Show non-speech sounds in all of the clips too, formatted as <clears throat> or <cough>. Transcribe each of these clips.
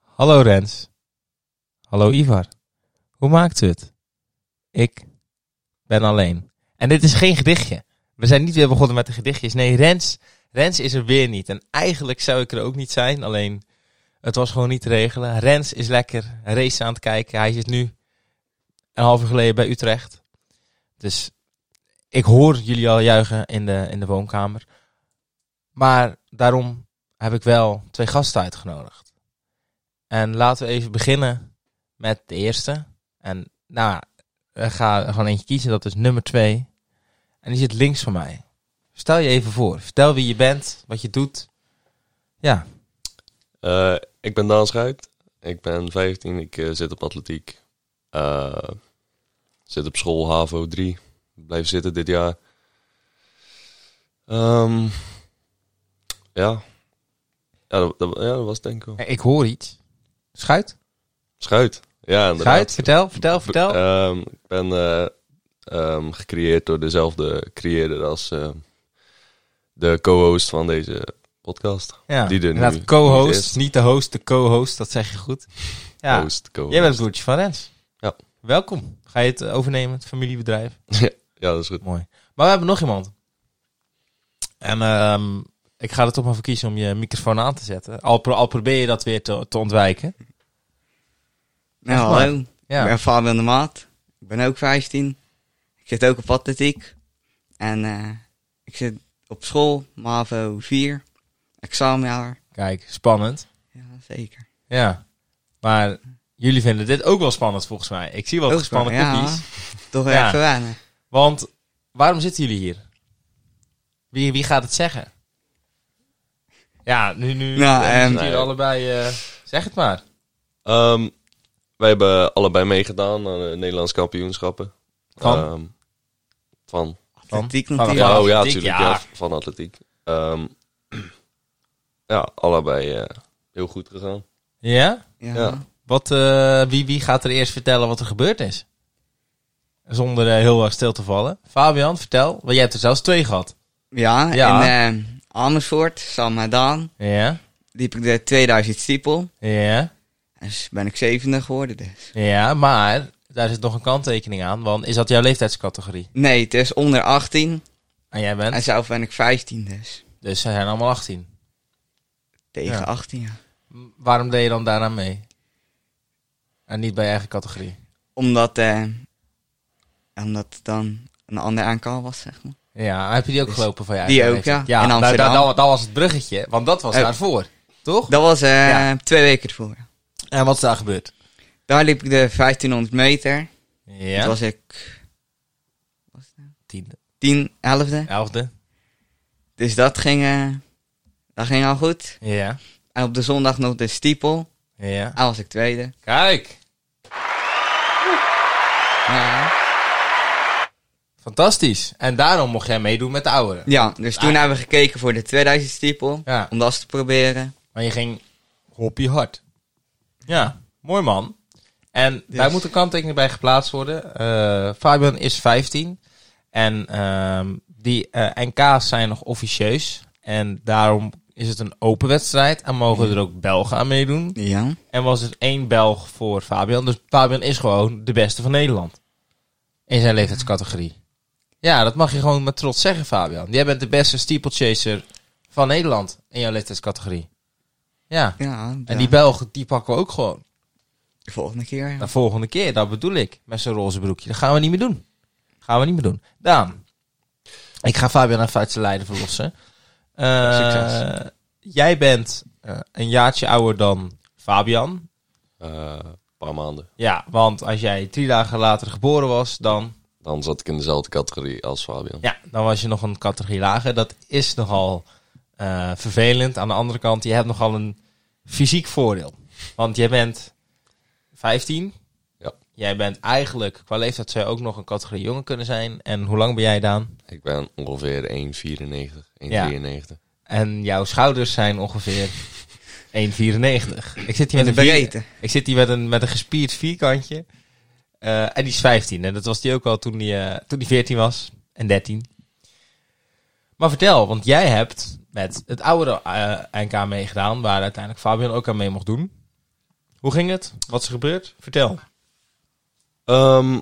Hallo Rens. Hallo Ivar. Hoe maakt u het? Ik ben alleen. En dit is geen gedichtje. We zijn niet weer begonnen met de gedichtjes. Nee, Rens, Rens is er weer niet. En eigenlijk zou ik er ook niet zijn, alleen het was gewoon niet te regelen. Rens is lekker een race aan het kijken. Hij zit nu een half uur geleden bij Utrecht. Dus ik hoor jullie al juichen in de, in de woonkamer. Maar daarom heb ik wel twee gasten uitgenodigd. En laten we even beginnen met de eerste. En nou, ik ga er gewoon eentje kiezen. Dat is nummer twee. En die zit links van mij. Stel je even voor. Vertel wie je bent, wat je doet. Ja, Eh, ik ben Daan Schuit. Ik ben 15. Ik eh, zit op atletiek. Eh, zit op school HAVO 3. Blijf zitten dit jaar. Ehm, ja. Ja dat, dat- ja, dat was het denk ik wel. ik hoor iets. Schuit? Schuit. Ja, Schuit? inderdaad. Vertel, vertel, vertel. Ehm, ik ben eh, ehm, gecreëerd door dezelfde creëerder als ehm, de co-host van deze podcast. ja, die er inderdaad, nu co-host. niet Niet, is. de host, de co-host. Dat zeg je goed. Ja, Host, co jij bent het broertje van Rens. Oh, Ja. Welkom. Ga je het overnemen, het familiebedrijf? Ja, dat is goed. Mooi. Maar we hebben nog iemand. En ehm, ik ga er toch maar voor kiezen om je microfoon aan te zetten. Al, pro- al probeer je dat weer te, te ontwijken. Nou, Echt waar? hallo. Ja. Ik ben Fabian de Maat. Ik ben ook 15. Ik zit ook op atletiek. En eh, ik zit op school, MAVO 4. Examenjaar. Kijk, spannend. Ja, zeker. Ja. Maar jullie vinden dit ook wel spannend volgens mij. Ik zie wel Ook gespannen spannend, ja. cookies. Toch wel Ja. even wennen. Want waarom zitten jullie hier? Wie, wie gaat het zeggen? Ja, nu, nu Nou, eh, we ehm, zitten hier nee. allebei. eh, zeg het maar. Ehm, wij hebben allebei meegedaan aan de Nederlands kampioenschappen. Van? Ehm, van. Atletiek Van- natuurlijk. Van Ja, oh ja, atletiek, natuurlijk. Ja. ja. van atletiek. Ehm, <clears throat> ja, allebei eh, heel goed gegaan. Ja? Ja. ja. Wat, eh, wie, wie gaat er eerst vertellen wat er gebeurd is? Zonder eh, heel erg stil te vallen. Fabian, vertel. Want jij hebt er zelfs twee gehad. Ja, Ja. in eh, Amersfoort, San Madaan, Ja, liep ik de 2000 stiepel. ja, En dus ben ik zevende geworden dus. ja. Maar daar zit nog een kanttekening aan. Want is dat jouw leeftijdscategorie? Nee, het is onder 18. En jij bent? En zelf ben ik 15 dus. Dus zij zijn allemaal 18. Tegen Ja. 18, ja. M- Waarom deed je dan daaraan mee? En niet bij je eigen categorie? Omdat, eh, omdat het dan een ander aankal was, zeg maar. Ja, heb je die ook Dus gelopen van je die eigen ook, leeftijd? ja. In nou, Amsterdam. dat, dat- dat was het bruggetje. Want dat was Eh. daarvoor. Toch? Dat was eh, Ja. twee weken ervoor. En wat is daar gebeurd? Daar liep ik de 1500 meter. Ja. Toen was ik tiende. 10, 11e. Elfde. Dus dat ging, eh, dat ging al goed. Ja. En op de zondag nog de stiepel. Ja. Daar was ik tweede. Kijk. Ja, Fantastisch. En daarom mocht jij meedoen met de ouderen. ja dus toen Ah. hebben we gekeken voor de 2000 stiepel. Ja. Om dat te proberen. Maar je ging hoppie hard. Ja, mooi man. En daar Yes. moet een kanttekening bij geplaatst worden. Eh, Fabian is 15. En ehm, die eh, NK's zijn nog officieus. En daarom is het een open wedstrijd. En mogen er ook Belgen aan meedoen. Ja. En was er één Belg voor Fabian. Dus Fabian is gewoon de beste van Nederland. In zijn leeftijdscategorie. Ja, dat mag je gewoon met trots zeggen, Fabian. Jij bent de beste steeplechaser van Nederland in jouw leeftijdscategorie. Ja. ja ja. En die Belgen, die pakken we ook gewoon. de volgende keer. De volgende keer, dat bedoel ik. Met zijn roze broekje. Dat gaan we niet meer doen. gaan we niet meer doen. Daan. Ik ga Fabian even uit zijn lijden verlossen. Eh, Succes. Jij bent eh, een jaartje ouder dan Fabian. Eh, Een paar maanden. Ja, want als jij drie dagen later geboren was, dan, Dan zat ik in dezelfde categorie als Fabian. ja, dan was je nog een categorie lager. Dat is nogal eh, vervelend. Aan de andere kant, je hebt nogal een fysiek voordeel. Want jij bent 15. Ja. Jij bent eigenlijk, qua leeftijd zou je ook nog een categorie jonger kunnen zijn. En hoe lang ben jij Daan? Ik ben ongeveer 1,94, 1,93. En jouw schouders zijn ongeveer 1,94. Ik zit hier In met de een vier- breedte. Ik zit hier met een, met een gespierd vierkantje. Eh, en die is 15. En dat was die ook al toen die, eh, toen die 14 was. En 13. Maar vertel, want jij hebt met het oude eh, NK meegedaan. Waar uiteindelijk Fabian ook aan mee mocht doen. Hoe ging het? Wat is er gebeurd? Vertel. Ehm,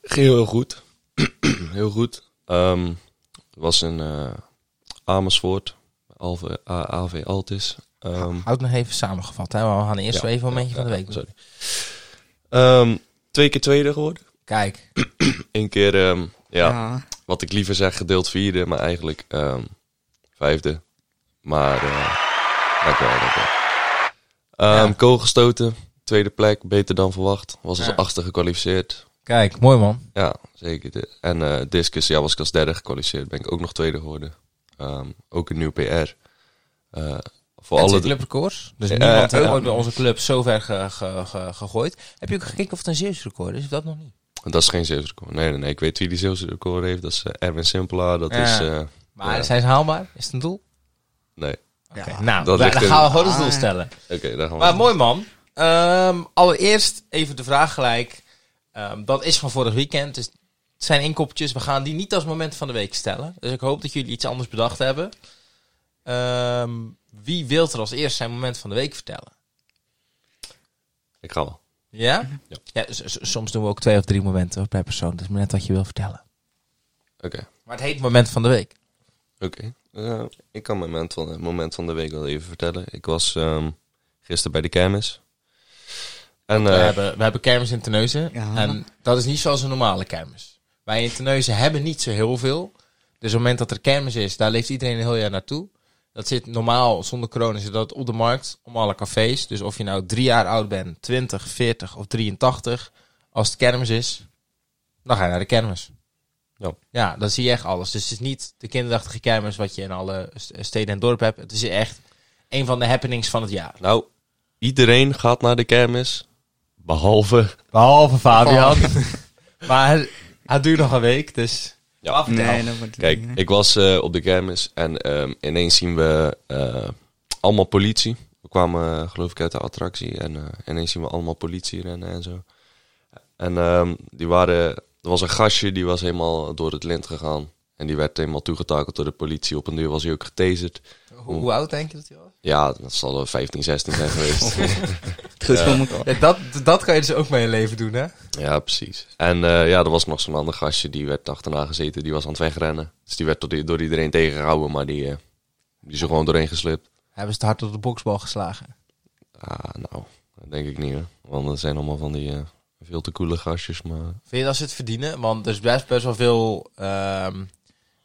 ging heel goed. <clears throat> heel goed. Ehm was in eh, Amersfoort, Alve- A- AV Altis. Ehm, Houd nog even samengevat. Hè? We gaan eerst Ja. even een momentje van de ja, week. doen. Sorry. Ehm, twee keer tweede geworden. Kijk, Eén keer, ehm, ja, Ja. wat ik liever zeg, gedeeld vierde, maar eigenlijk ehm, vijfde. Maar eh dankjewel, dankjewel. Ehm, Ja. Kool gestoten, tweede plek, beter dan verwacht. Was als Ja. achter gekwalificeerd. kijk, mooi man. Ja, zeker. De- En eh, discus, ja, was ik als derde gekwalificeerd. Ben ik ook nog tweede geworden. Ehm, ook een nieuw PR. Eh, voor Voor alle Eh, alle drie- clubrecords. Dus Ja, niemand heeft ja. ooit bij onze club zo ver ge- ge- ge- gegooid. Heb je ook gekeken of het een Zeeuws record is? Of dat nog niet? Dat is geen Zeeuws record. Nee, nee, nee. Ik weet wie die Zeeuws record heeft. Dat is eh, Erwin Simpelaar. Dat Ja. is... eh, Maar Ja. zijn ze haalbaar? Is het een doel? nee. Oké, Ja. nou, Dat dan ligt in- gaan we gewoon ons Ah. doel stellen. Oké, daar gaan we. Maar mooi man. Ehm, allereerst even de vraag gelijk. Ehm, dat is van vorig weekend. Dus het zijn inkoppertjes. We gaan die niet als moment van de week stellen. Dus ik hoop dat jullie iets anders bedacht hebben. Ehm, wie wil er als eerst zijn moment van de week vertellen? Ik ga wel. Ja? Ja. s- s- soms doen we ook twee of drie momenten hoor, per persoon. Dat is maar net wat je wil vertellen. Oké. Maar het heet moment van de week. Oké. Eh, ik kan mijn moment van, het moment van de week wel even vertellen. Ik was ehm, gisteren bij de kermis. En We, eh, hebben, we hebben kermis in Terneuzen. Ja. En dat is niet zoals een normale kermis. Wij in Terneuzen hebben niet zo heel veel. Dus op het moment dat er kermis is, daar leeft iedereen een heel jaar naartoe. Dat zit normaal, zonder corona, zit dat op de markt, om alle cafés. Dus of je nou drie jaar oud bent, 20, 40 of 83, als het kermis is, dan ga je naar de kermis. Ja. ja, dan zie je echt alles. Dus het is niet de kinderachtige kermis wat je in alle st- steden en dorpen hebt. Het is echt een van de happenings van het jaar. nou, iedereen gaat naar de kermis. Behalve... Behalve Fabian. <laughs> maar het, het duurt nog een week, dus... Ja. Nee, dat wordt het Kijk, niet, hè. ik was eh, op de kermis en ehm, ineens zien we eh, allemaal politie. We kwamen eh, geloof ik uit de attractie en eh, ineens zien we allemaal politie rennen en zo. En ehm, die waren, er was een gastje die was helemaal door het lint gegaan. En die werd helemaal toegetakeld door de politie. Op een duur was hij ook getaserd. Hoe, hoe oud denk je dat hij was? Ja, dat zal wel 15, 16 zijn geweest. Het eh, goed voor elkaar. Ja, dat, dat kan je dus ook mee in je leven doen, hè? ja, precies. En eh, ja, er was nog zo'n ander gastje die werd achterna gezeten. Die was aan het wegrennen. Dus die werd door, door iedereen tegengehouden, maar die, eh, die is er gewoon doorheen geslipt. Hebben ze te hard op de boksbal geslagen. Ah, nou, dat denk ik niet hoor. Want dat zijn allemaal van die eh, veel te koele gastjes, maar... Vind je dat ze het verdienen? Want er is best, best wel veel... ehm,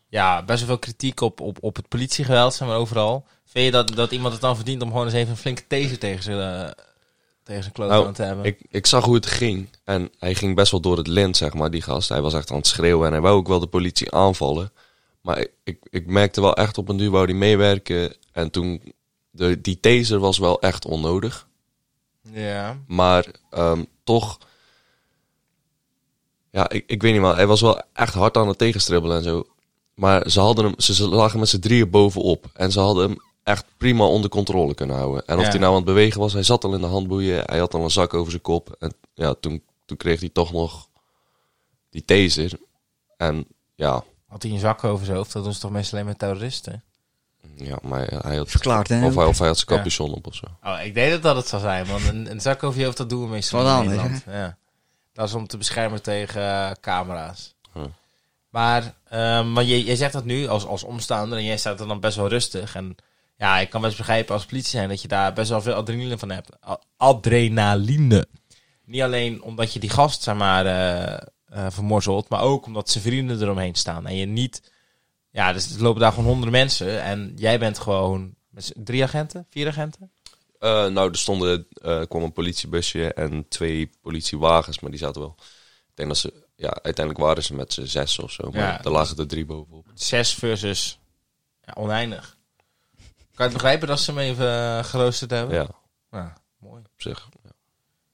ja, best wel veel kritiek op, op, op het politiegeweld, zeg maar, overal. Vind je dat, dat iemand het dan verdient om gewoon eens even een flinke taser tegen zijn, eh, tegen zijn klote Nou, aan te hebben? Ik, ik zag hoe het ging. En hij ging best wel door het lint, zeg maar, die gast. Hij was echt aan het schreeuwen en hij wou ook wel de politie aanvallen. Maar ik, ik, ik merkte wel echt op een duur wou die meewerken. En toen... De, die taser was wel echt onnodig. Ja. Maar ehm, toch... Ja, ik, ik weet niet maar Hij was wel echt hard aan het tegenstribbelen en zo. Maar ze, hadden hem, ze, ze lagen met z'n drieën bovenop. En ze hadden hem echt prima onder controle kunnen houden. En of Ja. hij nou aan het bewegen was, hij zat al in de handboeien. Hij had al een zak over zijn kop. En ja, toen, toen kreeg hij toch nog die taser. En ja, Had hij een zak over zijn hoofd? Dat doen ze toch meestal alleen met terroristen? ja maar hij had, Verklaard, hè? of hij, of hij had zijn Ja. capuchon op of zo. Oh, ik denk dat dat het zal zijn, want een, een zak over je hoofd, dat doen we meestal Wat in anders, Nederland. Ja. Dat is om te beschermen tegen eh, camera's. Huh. Maar, ehm maar jij, jij zegt dat nu als, als omstaander en jij staat er dan best wel rustig. En ja, ik kan best begrijpen als politie zijn dat je daar best wel veel adrenaline van hebt. A- Adrenaline. Niet alleen omdat je die gast, zeg maar, eh, eh, vermorzelt, maar ook omdat zijn vrienden eromheen staan. En je niet... Ja, dus er lopen daar gewoon honderden mensen en jij bent gewoon... met z'n- Drie agenten? Vier agenten? Eh, nou, er stonden, eh, kwam een politiebusje en twee politiewagens, maar die zaten wel. Ik denk dat ze, ja, uiteindelijk waren ze met z'n zes of zo, maar Ja. er lagen er drie bovenop. 6 versus ja, oneindig. Kan je het begrijpen dat ze hem even eh, geroosterd hebben? Ja, Nou, mooi. op zich. Ja.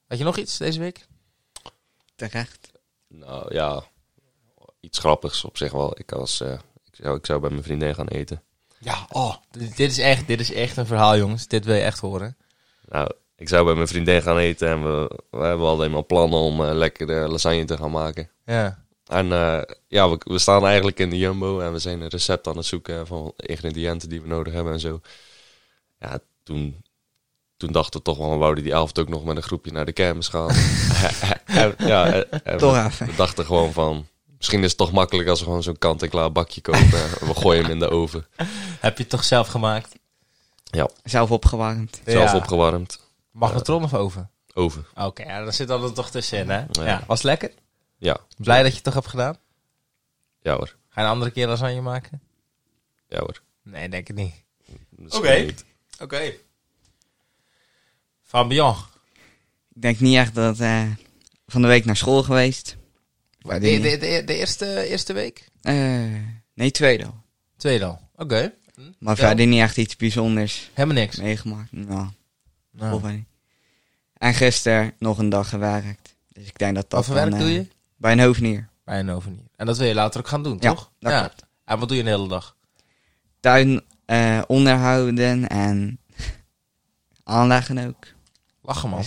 Had je nog iets deze week? Terecht. Nou ja, iets grappigs op zich wel. Ik, was, eh, ik, zou, ik zou bij mijn vriendin gaan eten. Ja, oh. Dit, dit is echt, dit is echt een verhaal, jongens. Dit wil je echt horen. Nou, ik zou bij mijn vriendin gaan eten en we, we hebben al helemaal plannen om eh, lekker eh, lasagne te gaan maken. Ja. En eh, ja, we, we staan eigenlijk in de Jumbo en we zijn een recept aan het zoeken van ingrediënten die we nodig hebben en zo. Ja, toen, toen dachten we toch wel, wouden die elft ook nog met een groepje naar de kermis gaan. <laughs> En- ja, en- en Toch we, even. we dachten gewoon van, misschien is het toch makkelijk als we gewoon zo'n kant-en-klaar bakje kopen. en we gooien hem in de oven. Heb je het toch zelf gemaakt? Zelf opgewarmd. Zelf Ja. opgewarmd. Magnetron of oven? Oven. Oké, ja, daar zit dan er toch tussenin, hè? Ja. Ja. Was het lekker? Ja. Blij dat je het toch hebt gedaan? Ja hoor. Ga je een andere keer lasagne maken? Ja hoor. Nee, denk ik niet. Dus Oké. niet. Oké. Fabian. Ik denk niet echt dat eh, van de week naar school geweest. De, die- de, de, de eerste, eerste week? Eh, nee, tweede al. Tweede al. Oké. Maar Vertel. verder niet echt iets bijzonders Helemaal niks. meegemaakt. Nou, Nou. volgens mij niet. En gisteren nog een dag gewerkt. Dus ik denk dat dat Wat voor werk dan, doe eh, je? Bij een hovenier. Bij een ovenier. En dat wil je later ook gaan doen, Ja, toch? dat ja. klopt. En wat doe je een hele dag? Tuin eh, onderhouden en <laughs> aanleggen ook. Lachen, man.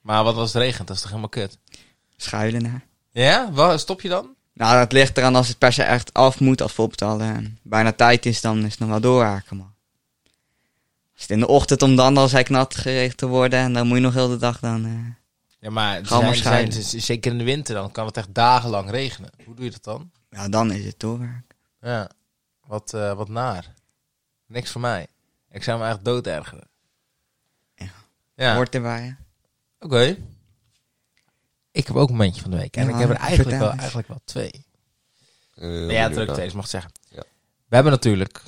Maar wat als het regent? Dat is toch helemaal kut? Schuilen hè. Ja? Wa- Stop je dan? Nou, dat ligt eraan als het per se echt af moet. Als bijvoorbeeld al eh, bijna tijd is, dan is het nog wel doorhaken, man. Als het in de ochtend om dan al zijn knat geregeld te worden... en dan moet je nog heel de dag dan... eh, Ja, maar het Ga maar zijn, zijn, schijnen. z- zeker in de winter dan kan het echt dagenlang regenen. Hoe doe je dat dan? ja, dan is het doorwerk. Ja, wat, eh, wat naar. Niks voor mij. Ik zou me echt dood ergeren. Ja. Ja, oké. Hoort erbij, hè. Ik heb ook een momentje van de week. En Ja, ik heb er eigenlijk vertel wel, eens. eigenlijk wel twee. Eh, Nee, ja, benieuwd druk naar. deze, mag ik zeggen. Ja. We hebben natuurlijk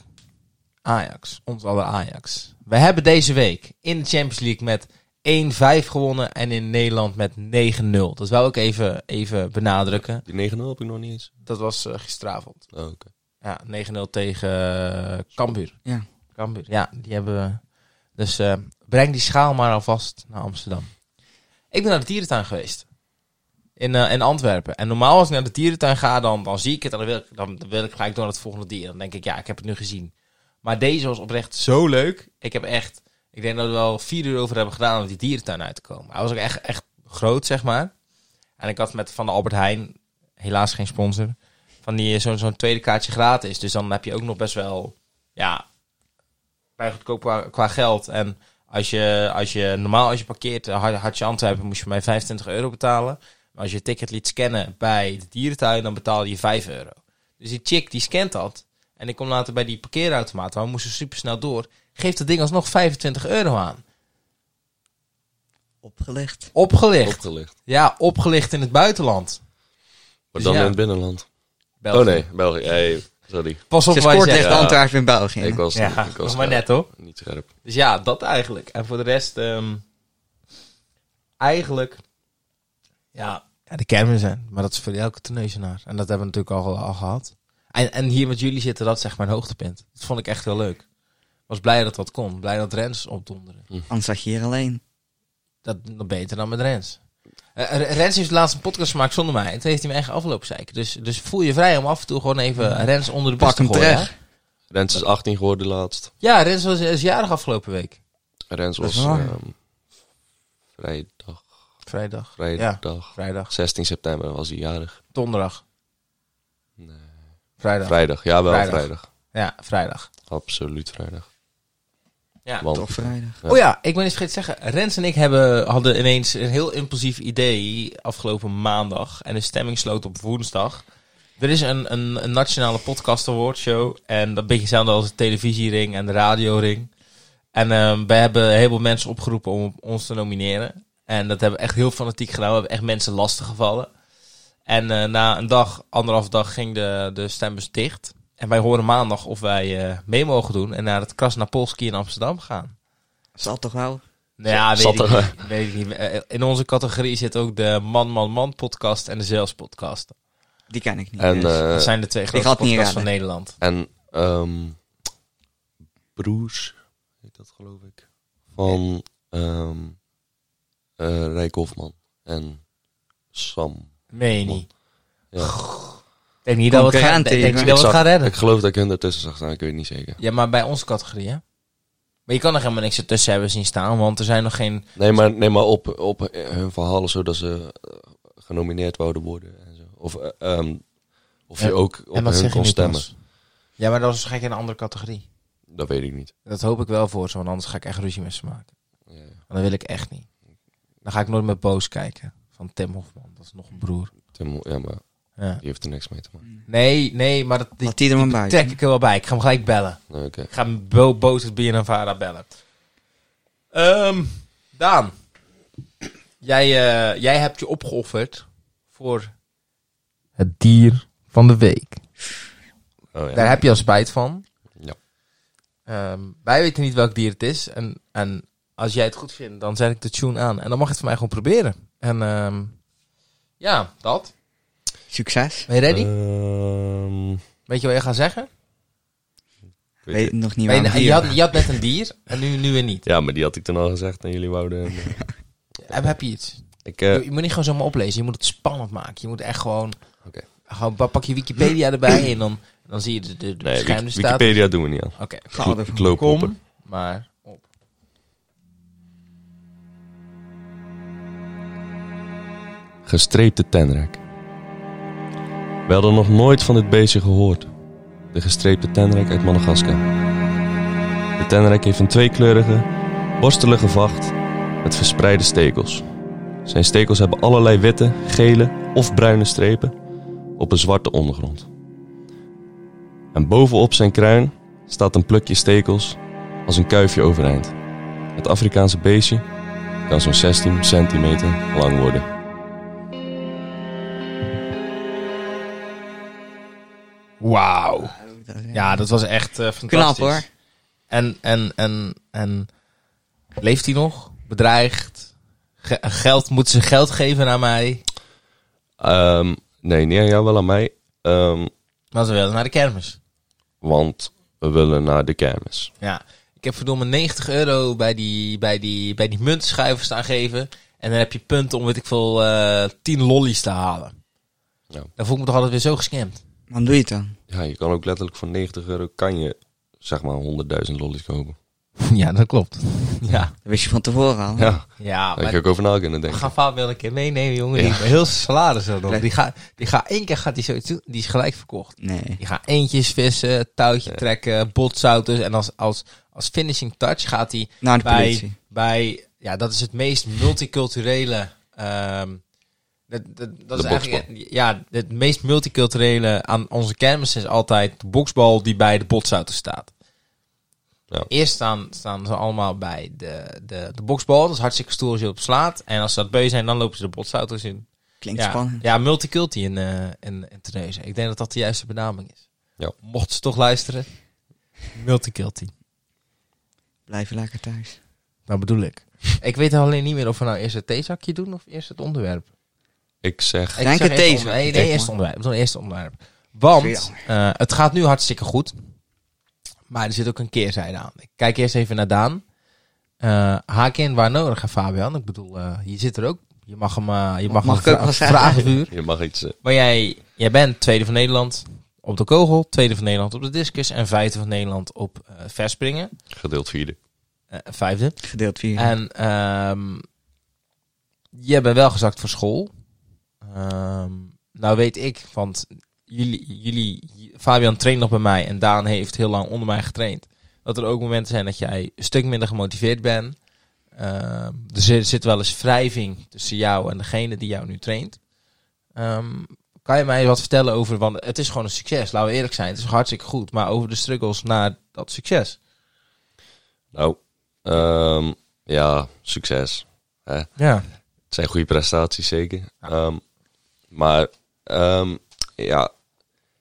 Ajax, ons aller Ajax. We hebben deze week in de Champions League met 1-5 gewonnen en in Nederland met 9-0. Dat wou ik even, even benadrukken. Die 9-0 heb ik nog niet eens. Dat was eh, gisteravond. Oh, oké. Ja, 9-0 tegen eh, Cambuur. Ja. Cambuur, ja, die hebben we. Dus eh, breng die schaal maar alvast naar Amsterdam. Ik ben naar de dierentuin geweest. In, eh, in Antwerpen. En normaal als ik naar de dierentuin ga, dan, dan zie ik het. En dan wil, ik, dan wil ik gelijk door naar het volgende dier. Dan denk ik, ja, ik heb het nu gezien. Maar deze was oprecht zo leuk. Ik heb echt... Ik denk dat we er wel vier uur over hebben gedaan om die dierentuin uit te komen. Hij was ook echt, echt groot, zeg maar. En ik had met Van de Albert Heijn, helaas geen sponsor... van die zo'n zo'n tweede kaartje gratis. Dus dan heb je ook nog best wel... Ja, vrij goedkoop qua, qua geld. En als je, als je normaal als je parkeert, eh, had, had je Antwerpen, moest je voor mij 25 euro betalen. Maar als je je ticket liet scannen bij de dierentuin, dan betaalde je 5 euro. Dus die chick die scant dat. En ik kom later bij die parkeerautomaat, waar we moesten super snel door. Geeft dat ding alsnog 25 euro aan. Opgelegd. Opgelicht. Opgelicht. Ja, opgelicht in het buitenland. Maar Dus dan ja. in het binnenland. België. Oh nee, België. Hey, sorry. Pas op Ze waar je scoort zegt. tegen Ja. Antwerpen in België. Ik hè. was, Ja, ik was eh, was maar net hoor. niet scherp. Dus ja, dat eigenlijk. En voor de rest, ehm, eigenlijk, ja. ja, de kermis zijn. Maar dat is voor elke toneelsenaar. En dat hebben we natuurlijk al, al gehad. En, en hier met jullie zitten, dat is zeg maar een hoogtepunt. Dat vond ik echt heel leuk. Was blij dat dat kon. Blij dat Rens opdonderen. Anders zat je hier alleen. Dat, dat beter dan met Rens. Eh, R- Rens heeft de laatste podcast gemaakt zonder mij. En toen heeft hij me echt afgelopen zeiken. Dus, dus voel je vrij om af en toe gewoon even Rens onder de bus Pak te hem gooien. terug. hè? Rens is 18 geworden laatst. Ja, Rens was is jarig afgelopen week. Rens Dat is was waar. ehm, vrijdag, Vrijdag. Ja, vrijdag. vrijdag. 16 september was hij jarig. Donderdag. Nee. Vrijdag. Vrijdag, ja wel Vrijdag. vrijdag. Ja, vrijdag. Absoluut vrijdag. Ja. Want Toch vrijdag. Ja. Oh ja, ik ben eens vergeten te zeggen. Rens en ik hebben, hadden ineens een heel impulsief idee afgelopen maandag. En de stemming sloot op woensdag. Er is een, een, een nationale podcast award show. En dat beetje hetzelfde als de televisiering en de radioring. En ehm we hebben een heleboel mensen opgeroepen om ons te nomineren. En dat hebben we echt heel fanatiek gedaan. We hebben echt mensen lastig gevallen. En eh, na een dag, anderhalf dag, ging de, de stembus dicht. En wij horen maandag of wij eh, mee mogen doen. En naar het Krasnapolski in Amsterdam gaan. Zal toch wel? Nou ja, weet, Zat ik, er- niet, weet ik niet. Eh, In onze categorie zit ook de Man Man Man podcast en de Zelfs podcast. Die ken ik niet. En, dus. eh, Dat zijn de twee grote had niet podcasts van raden. Nederland. en ehm Broers, heet dat geloof ik, van ehm eh, Rijk Hofman en Sam. Meen je niet? Ja. Denk niet dat we het gaan, Concurrenten, denk niet dat jongen. we het zag- gaan redden. Ik geloof dat ik hun ertussen zag staan, ik weet het niet zeker. Ja, maar bij onze categorie, hè? Maar je kan er helemaal niks ertussen hebben zien staan, want er zijn nog geen... Nee, maar, nee, maar op, op hun verhalen zodat ze eh, genomineerd wouden worden. En zo. Of, eh, ehm, of je Ja, ook op hun kon stemmen. Ja, maar dat is waarschijnlijk in een andere categorie. Dat weet ik niet. Dat hoop ik wel voor ze, want anders ga ik echt ruzie met ze maken. Ja, ja. En dat wil ik echt niet. Dan ga ik nooit meer boos kijken. Van Tim Hofman, dat is nog een broer. Tim, ja, maar Ja. die heeft er niks mee te maken. Mm. Nee, nee, maar dat, die Laat die er maar bij. trek ik er wel bij. Ik ga hem gelijk bellen. Nee, Oké. Ik ga hem bo boos het BNNVARA bellen. Ehm, Daan. Jij, eh, jij hebt je opgeofferd voor het dier van de week. Oh, ja. Daar heb je al spijt van. Ja. Ehm, wij weten niet welk dier het is. En, en als jij het goed vindt, dan zet ik de tune aan. En dan mag je het voor mij gewoon proberen. En ehm, ja, dat. Succes. Ben je ready? Eh, Ehm, ik Weet je wat je gaat zeggen? weet Weet het. nog niet Ben waar. je, we je, hier- had, je had net een dier en nu, nu weer niet. Ja, maar die had ik toen al gezegd en jullie <laughs> wouden... hem, eh, Heb, heb je iets? ik, eh, Je, je moet niet gewoon zomaar oplezen. Je moet het spannend maken. Je moet echt gewoon... Oké. gewoon pa- pak je Wikipedia erbij en dan, dan zie je de, de, de nee, Wik- beschermde staat. Wikipedia doen we niet aan. Oké. Ga Klo- ervoor. Kloophopper. Kom maar op. Gestreepte tenrek. We hadden nog nooit van dit beestje gehoord. De gestreepte tenrek uit Madagaskar. De tenrek heeft een tweekleurige, borstelige vacht met verspreide stekels. Zijn stekels hebben allerlei witte, gele of bruine strepen op een zwarte ondergrond. En bovenop zijn kruin staat een plukje stekels als een kuifje overeind. Het Afrikaanse beestje kan zo'n 16 centimeter lang worden. Wauw. Dat is- Ja, dat was echt eh, fantastisch. Knap hoor. En, en, en, en leeft hij nog? Bedreigd? Ge- geld, moet ze geld geven aan mij? Ehm, nee, niet aan jou, wel aan mij. Ehm, Maar ze willen naar de kermis. want we willen naar de kermis. Ja. Ik heb verdomme 90 euro bij die, bij die, bij die muntschuiver staan geven. En dan heb je punten om, weet ik veel, eh 10 lollies te halen. Ja. Dan voel ik me toch altijd weer zo gescamd. Waarom doe je het dan? Ja, je kan ook letterlijk voor 90 euro kan je zeg maar 100.000 lollies kopen. <laughs> Ja, dat klopt. <laughs> Ja. Dat wist je van tevoren al. <laughs> Ja, Ja, daar heb maar je ook over na kunnen We denken. gaan vaak wel een keer meenemen, jongen. Die <laughs> heel zijn salaris er nog. Die gaat, die gaat één keer gaat die zoiets doen. Die is gelijk verkocht. Nee. Die gaat eentjes vissen, touwtje trekken, botzouters. En als, als, als finishing touch gaat hij Naar de bij, politie. bij... Ja, dat is het meest multiculturele... ehm, dat, dat, dat is De eigenlijk, ja, het meest multiculturele aan onze kermis is altijd de boksbal die bij de botsauto staat. Ja. Eerst staan, staan ze allemaal bij de, de, de boksbal. Dat is hartstikke stoer als je op slaat. En als ze dat beu zijn, dan lopen ze de botsauto's in. Klinkt Ja, spannend. ja, multiculti in, eh in, in Tunesië. Ik denk dat dat de juiste benaming is. Ja. Mocht ze toch luisteren. Multiculti. Blijf lekker thuis. Nou bedoel ik. <laughs> ik weet alleen niet meer of we nou eerst het theezakje doen of eerst het onderwerp. Ik zeg, Ik Denk zeg het eerst deze. onder- Nee, Denk nee eerst maar. onderwerp. We doen eerst onderwerp. Want Veel. eh, het gaat nu hartstikke goed. Maar er zit ook een keerzijde aan. Ik kijk eerst even naar Daan. Eh, haak in waar nodig, hè, Fabian. Ik bedoel, eh, je zit er ook. Je mag hem, eh, je mag Mag hem ik ook vra- wel zeggen? vragenvuur. je mag iets... eh, Maar jij, jij bent tweede van Nederland op de kogel, tweede van Nederland op de discus en vijfde van Nederland op eh, verspringen. gedeeld vierde. Eh, vijfde. Gedeeld 4. En ehm je bent wel gezakt voor school. Ehm, nou weet ik, want jullie, jullie, Fabian traint nog bij mij en Daan heeft heel lang onder mij getraind. Dat er ook momenten zijn dat jij een stuk minder gemotiveerd bent. Ehm, dus er zit wel eens wrijving tussen jou en degene die jou nu traint. Ehm, kan je mij wat vertellen over, want het is gewoon een succes, laten we eerlijk zijn. Het is hartstikke goed, maar over de struggles naar dat succes. Nou, ehm, ja, succes. Ja. Het zijn goede prestaties, zeker. Ehm, maar ehm, ja,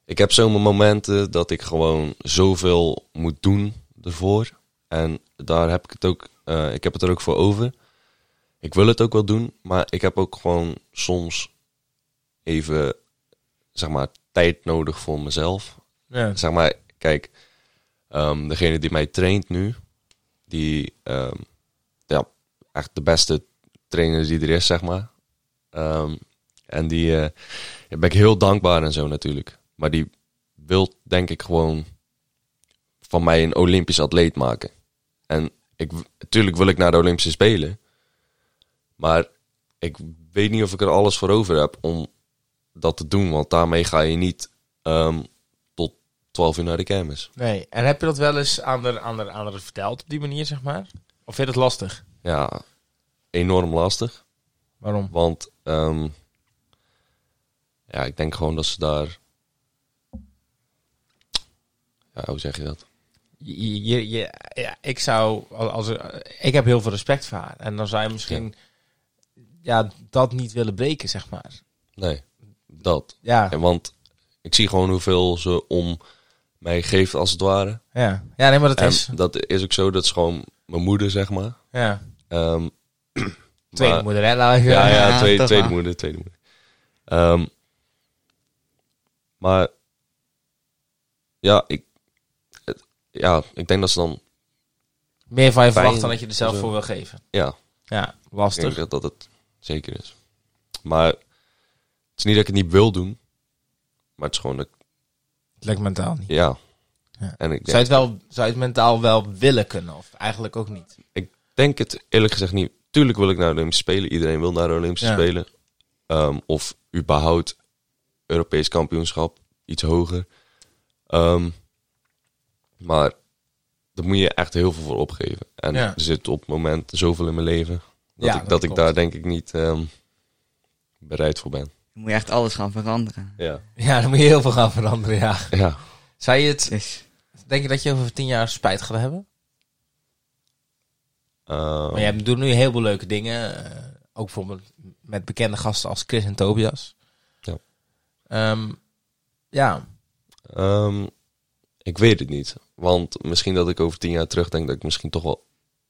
ik heb zo'n momenten dat ik gewoon zoveel moet doen ervoor. En daar heb ik het ook, eh, ik heb het er ook voor over. Ik wil het ook wel doen, maar ik heb ook gewoon soms even, zeg maar, tijd nodig voor mezelf ja. zeg maar, kijk, ehm, degene die mij traint nu, die, ehm, ja, echt de beste trainer die er is, zeg maar. Ehm, en die, eh, daar ben ik heel dankbaar en zo natuurlijk. Maar die wil, denk ik, gewoon van mij een Olympisch atleet maken. En ik, natuurlijk wil ik naar de Olympische Spelen. Maar ik weet niet of ik er alles voor over heb om dat te doen. Want daarmee ga je niet ehm, tot 12 uur naar de kermis. Nee, en heb je dat wel eens aan de, aan de, aan de verteld op die manier, zeg maar? Of vind je dat lastig? ja, enorm lastig. Waarom? Want ehm, ja, ik denk gewoon dat ze daar. Ja, hoe zeg je dat? Je, je, je- ja, ik zou, als, als er- ik heb heel veel respect voor haar. En dan zou je misschien ja, dat niet willen breken, zeg maar. Nee, dat. Ja, En want ik zie gewoon hoeveel ze om mij geeft, als het ware. ja. ja nee, maar dat En is. dat is ook zo, dat is gewoon mijn moeder, zeg maar. Ja. Ehm, <clears throat> Tweede maar- moeder, hè? Laat ik, eh, Ja, ja, Ja, tweede, toch tweede wel. moeder, tweede moeder. Ehm, maar ja ik, het- ja, ik denk dat ze dan, Meer van je verwacht Fijn, dan dat je er zelf zo. voor wil geven. ja, Ja, ik denk lastig. dat, dat het zeker is. Maar het is niet dat ik het niet wil doen, maar het is gewoon dat, ik- Lekker mentaal niet. ja. Ja. En ik Zou je, het denk, wel, zou je het mentaal wel willen kunnen? Of eigenlijk ook niet? ik denk het eerlijk gezegd niet. Tuurlijk wil ik naar de Olympische Spelen, iedereen wil naar de Olympische Ja. Spelen. Ehm, of überhaupt Europees kampioenschap, iets hoger. Ehm, maar daar moet je echt heel veel voor opgeven. En Ja. er zit op het moment zoveel in mijn leven dat Ja, ik, dat dat ik klopt. daar denk ik niet ehm, bereid voor ben. Dan moet je echt alles gaan veranderen. Ja. Ja, dan moet je heel veel gaan veranderen, ja. ja. Zou je het... Dus Denk je dat je over tien jaar spijt gaat Oh. hebben? Ehm, Maar jij doet nu heel veel leuke dingen. eh, ook bijvoorbeeld met bekende gasten als Chris en Tobias. Ja. Ehm, ja. ehm, ik weet het niet. Want misschien dat ik over tien jaar terugdenk dat ik misschien toch wel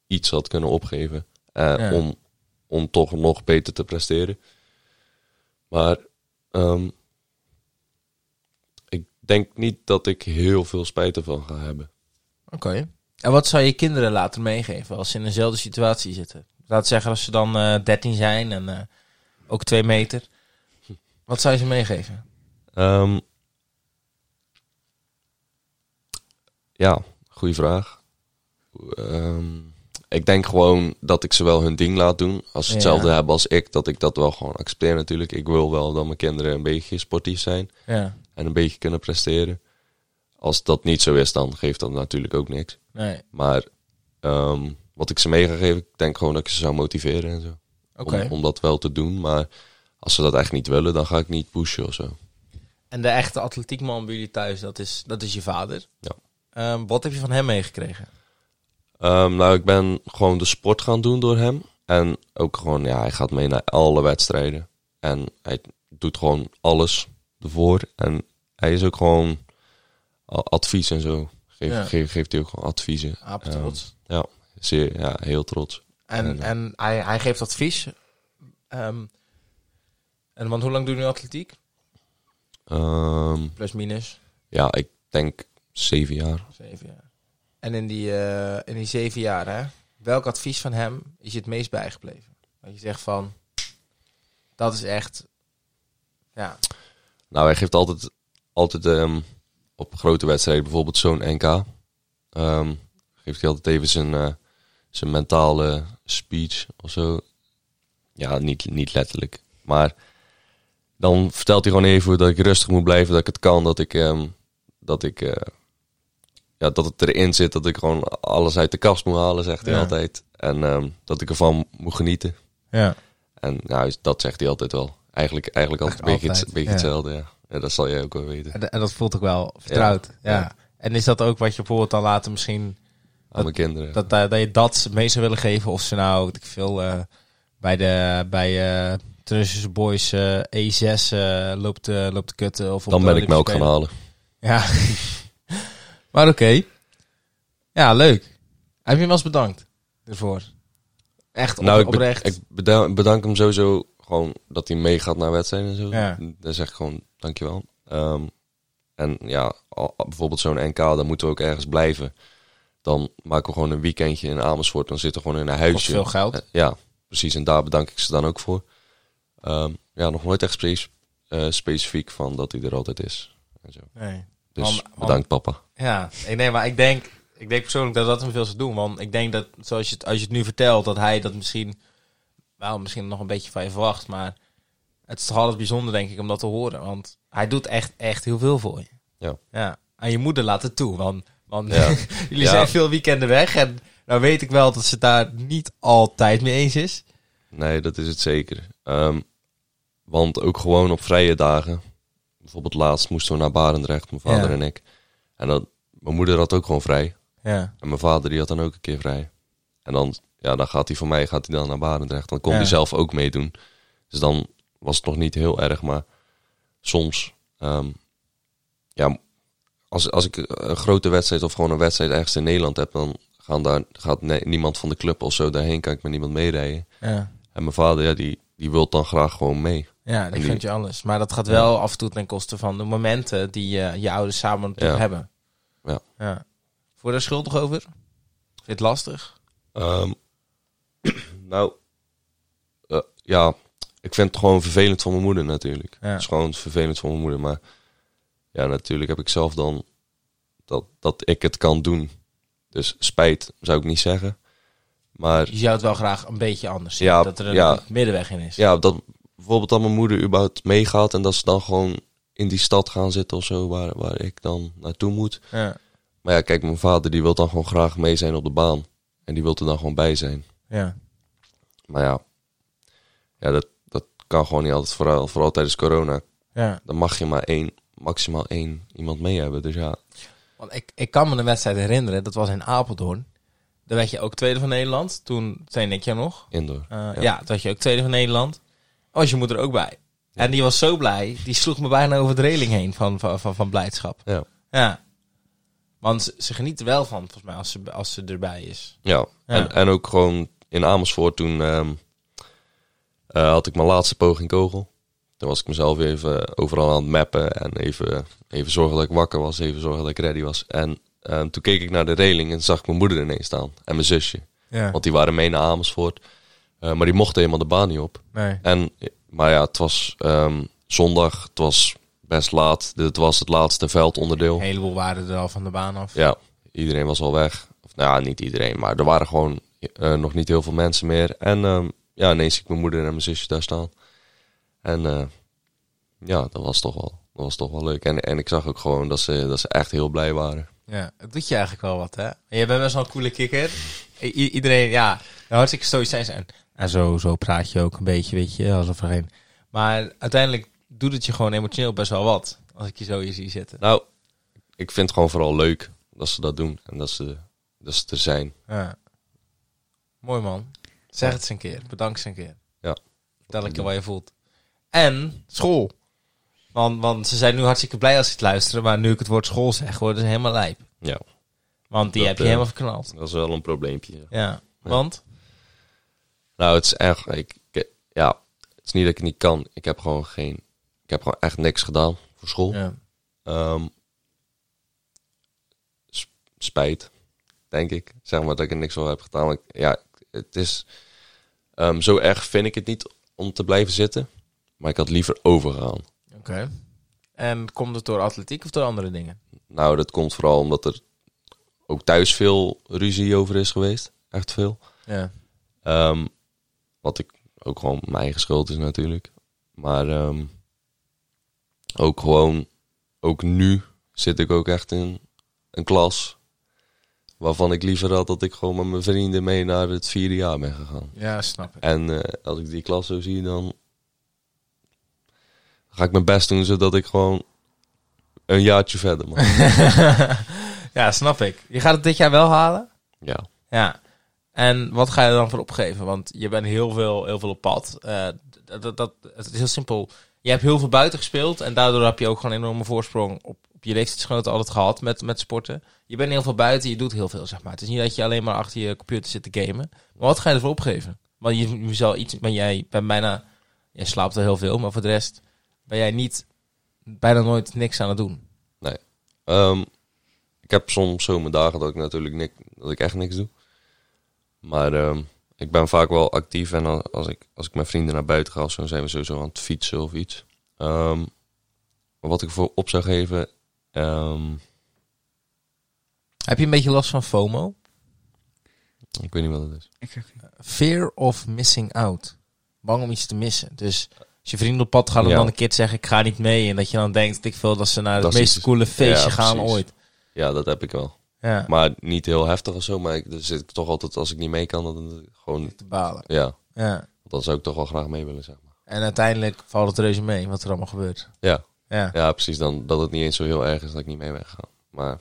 iets had kunnen opgeven. eh, Ja. om, om toch nog beter te presteren. Maar ehm, ik denk niet dat ik heel veel spijt ervan ga hebben. Oké. En wat zou je kinderen later meegeven als ze in dezelfde situatie zitten? Laat zeggen als ze dan eh 13 zijn en eh, ook 2 meter. Wat zou je ze meegeven? Ehm, ja, goede vraag. Ehm, ik denk gewoon dat ik ze wel hun ding laat doen. Als ze Ja. hetzelfde hebben als ik, dat ik dat wel gewoon accepteer natuurlijk. Ik wil wel dat mijn kinderen een beetje sportief zijn Ja. en een beetje kunnen presteren. Als dat niet zo is, dan geeft dat natuurlijk ook niks. Nee. Maar ehm, wat ik ze mee ga geven, ik denk gewoon dat ik ze zou motiveren en zo. Oké. Om, om dat wel te doen. Maar als ze dat echt niet willen, dan ga ik niet pushen of zo. En de echte atletiekman bij jullie thuis, dat is, dat is je vader. Ja. Ehm, wat heb je van hem meegekregen? Ehm, nou, ik ben gewoon de sport gaan doen door hem. En ook gewoon, ja, hij gaat mee naar alle wedstrijden. En hij doet gewoon alles ervoor. En hij is ook gewoon a- advies en zo. Geef, Ja. geef, geeft hij ook gewoon adviezen. Apen trots. Zeer, ja, heel trots. En, En- en hij, hij geeft advies. Ehm, en want hoe lang doe je nu atletiek? Ehm, Plus minus ja, ik denk zeven jaar. zeven jaar. En in die, eh, in die zeven jaar, hè, welk advies van hem is je het meest bijgebleven? Dat je zegt van, dat is echt, ja, Nou, hij geeft altijd, altijd ehm, op grote wedstrijden, bijvoorbeeld zo'n NK. ehm, geeft hij altijd even zijn, eh, zijn mentale speech of zo. Ja, niet, niet letterlijk. Maar dan vertelt hij gewoon even dat ik rustig moet blijven, dat ik het kan, dat ik, ehm, dat ik, eh, ja, dat het erin zit, dat ik gewoon alles uit de kast moet halen, zegt hij Ja. altijd. En ehm, dat ik ervan moet genieten. ja. En nou, dat zegt hij altijd wel. Eigenlijk, eigenlijk altijd een beetje, Eigenlijk het- beetje altijd, hetzelfde, ja. ja. Dat zal jij ook wel weten. En, en dat voelt ook wel vertrouwd. Ja. Ja. En is dat ook wat je bijvoorbeeld dan later misschien, Aan mijn kinderen. dat, eh, dat, dat je dat mee zou willen geven? Of ze nou, weet ik veel, eh, bij de, bij eh Trussers Boys eh, E6 eh, loopt, eh, loopt de kutten. Of op Dan de ben ik melk Olympische gaan halen. Ja. <laughs> maar oké. Ja, leuk. Heb je hem wel eens bedankt ervoor? Echt op, Nou, ik, be- oprecht. ik beda- bedank hem sowieso gewoon dat hij meegaat naar wedstrijden en zo. Ja. Dan zeg ik gewoon dankjewel. Ehm en ja, al- al- bijvoorbeeld zo'n NK, dan moeten we ook ergens blijven. Dan maken we gewoon een weekendje in Amersfoort. Dan zitten we gewoon in een Kost huisje. veel geld. Eh, Ja, precies. En daar bedank ik ze dan ook voor. Ehm, ja, nog nooit echt spe- eh, specifiek van dat hij er altijd is. En zo. Nee. Dus Want- want- bedankt papa. Ja, ik, nee, maar ik denk, ik denk persoonlijk dat dat hem veel zou doen. Want ik denk dat, zoals je het, als je het nu vertelt, dat hij dat misschien, wel, misschien nog een beetje van je verwacht. Maar het is toch alles bijzonder, denk ik, om dat te horen. Want hij doet echt, echt heel veel voor je. Ja. ja. Aan je moeder laat het toe. Want, want Ja. <laughs> jullie Ja. zijn veel weekenden weg en Nou weet ik wel dat ze daar niet altijd mee eens is. Nee, dat is het zeker. Ehm, want ook gewoon op vrije dagen. Bijvoorbeeld laatst moesten we naar Barendrecht, mijn vader Ja. en ik. En dat, mijn moeder had ook gewoon vrij. Ja. En mijn vader die had dan ook een keer vrij. En dan, ja, dan gaat hij van mij gaat hij dan naar Barendrecht. Dan kon Ja. hij zelf ook meedoen. Dus dan was het nog niet heel erg. Maar soms, ehm, ja, als, als ik een grote wedstrijd of gewoon een wedstrijd ergens in Nederland heb, dan gaan daar, gaat ne- niemand van de club of zo daarheen. Kan ik met niemand meerijden. Ja, En mijn vader, ja, die, die wil dan graag gewoon mee. ja dat die- vind je alles. Maar dat gaat wel af en toe ten koste van de momenten die eh, je ouders samen natuurlijk Ja. hebben. Ja. ja. Voor daar schuldig over? Vind je het lastig? Ehm, <clears throat> nou, eh, ja, ik vind het gewoon vervelend van mijn moeder natuurlijk. Ja. Het is gewoon vervelend van mijn moeder. Maar ja, natuurlijk heb ik zelf dan dat, dat ik het kan doen. Dus spijt zou ik niet zeggen. Maar Je zou het wel graag een beetje anders zien. Ja, dat er een ja. middenweg in is. ja, dat bijvoorbeeld dat mijn moeder überhaupt meegaat en dat ze dan gewoon in die stad gaan zitten of zo waar, waar ik dan naartoe moet. Ja. Maar ja, kijk, mijn vader die wil dan gewoon graag mee zijn op de baan. En die wil er dan gewoon bij zijn. ja. Maar ja, ja dat, dat kan gewoon niet altijd. Vooral, vooral tijdens corona. Ja, Dan mag je maar één, maximaal één iemand mee hebben. Dus ja, want ik, ik kan me een wedstrijd herinneren, dat was in Apeldoorn. Daar werd je ook tweede van Nederland. Toen, toen ik jou nog. indoor. Eh, ja. Ja. toen was je ook tweede van Nederland. Oh, Was je moeder ook bij. En die was zo blij, die sloeg me bijna over de reling heen van, van, van, van blijdschap. Ja, Ja. Want ze, ze geniet er wel van, volgens mij, als ze, als ze erbij is. ja. En, en ook gewoon in Amersfoort toen ehm, eh, had ik mijn laatste poging kogel. Toen was ik mezelf even overal aan het mappen. En even, even zorgen dat ik wakker was. Even zorgen dat ik ready was. En ehm, toen keek ik naar de reling en zag ik mijn moeder ineens staan. En mijn zusje. Ja, Want die waren mee naar Amersfoort. Eh, maar die mochten helemaal de baan niet op. nee. En, maar ja, het was ehm, zondag, het was best laat. Dit was het laatste veldonderdeel. Een heleboel waren er al van de baan af. Ja, iedereen was al weg. Of, nou ja, niet iedereen, maar er waren gewoon eh, nog niet heel veel mensen meer. En ehm, ja, ineens zie ik mijn moeder en mijn zusje daar staan. En eh, ja, dat was toch wel, dat was toch wel leuk. En, en ik zag ook gewoon dat ze, dat ze echt heel blij waren. Ja, het doet je eigenlijk wel wat, hè? En je bent best wel een coole kikker. I- i- iedereen, ja, nou, hartstikke stoïcijns. zijn. En zo, zo praat je ook een beetje, weet je, alsof er geen... Maar uiteindelijk doet het je gewoon emotioneel best wel wat. Als ik je zo hier zie zitten. Nou, ik vind het gewoon vooral leuk dat ze dat doen. En dat ze, dat ze er zijn. Ja. Mooi man. Zeg het eens een keer. Bedankt eens een keer. Ja. Vertel ik je wat je voelt. En school. Want, want ze zijn nu hartstikke blij als ze het luisteren. Maar nu ik het woord school zeg, worden ze helemaal lijp. Ja, Want die Dat, heb je eh, helemaal verknald. dat is wel een probleempje. Ja. Want? Nou, het is echt. Ik, ik- ja, het is niet dat ik het niet kan. Ik heb gewoon geen. Ik heb gewoon echt niks gedaan voor school. Ja. Ehm, s- spijt, denk ik. Zeg maar dat ik er niks voor heb gedaan. Want ik- ja, het is. ehm, zo erg vind ik het niet om te blijven zitten. Maar ik had liever overgaan. Oké. En komt het door atletiek of door andere dingen? Nou, dat komt vooral omdat er ook thuis veel ruzie over is geweest. Echt veel. Ja. Ehm, wat ik ook gewoon mijn eigen schuld is natuurlijk. Maar ehm, ook gewoon, ook nu zit ik ook echt in een klas. Waarvan ik liever had dat ik gewoon met mijn vrienden mee naar het vierde jaar ben gegaan. Ja, snap ik. <laughs> En eh, als ik die klas zo zie, dan ga ik mijn best doen zodat ik gewoon een jaartje verder mag. ja, snap ik. Je gaat het dit jaar wel halen? ja. Ja. En wat ga je er dan voor opgeven? Want je bent heel veel, heel veel op pad. Eh, dat, dat, dat, het is heel simpel. Je hebt heel veel buiten gespeeld. En daardoor heb je ook gewoon een enorme voorsprong op, op je leeftijdsgenoten altijd gehad met, met sporten. Je bent heel veel buiten. Je doet heel veel, zeg maar. Het is niet dat je alleen maar achter je computer zit te gamen. Maar wat ga je ervoor opgeven? Want je, je zal iets... Maar jij bent bijna... Jij slaapt wel heel veel. Maar voor de rest ben jij niet... Bijna nooit niks aan het doen. Ehm, ik heb soms zo mijn dagen dat ik natuurlijk nik, dat ik echt niks doe. Maar ehm, ik ben vaak wel actief en al- als ik, als ik met vrienden naar buiten ga, of zo, dan zijn we sowieso aan het fietsen of iets. Ehm, maar wat ik voor op zou geven, ehm, Heb je een beetje last van FOMO? ik weet niet wat het is. Ik ook niet. Fear of missing out. Bang om iets te missen. Dus als je vrienden op pad gaan en Ja. dan een kind zeggen ik ga niet mee. En dat je dan denkt ik veel dat ze naar het Dat is meest iets- coole feestje ja, gaan precies. ooit. Ja, dat heb ik wel. Ja. Maar niet heel heftig of zo. Maar ik, dan zit ik toch altijd, als ik niet mee kan, dan dan gewoon... Te balen. Ja, Ja. want dan zou ik toch wel graag mee willen, zeg maar. En uiteindelijk valt het reuze mee wat er allemaal gebeurt. Ja. Ja. Ja, precies. Dan, dat het niet eens zo heel erg is dat ik niet mee ben gegaan. Maar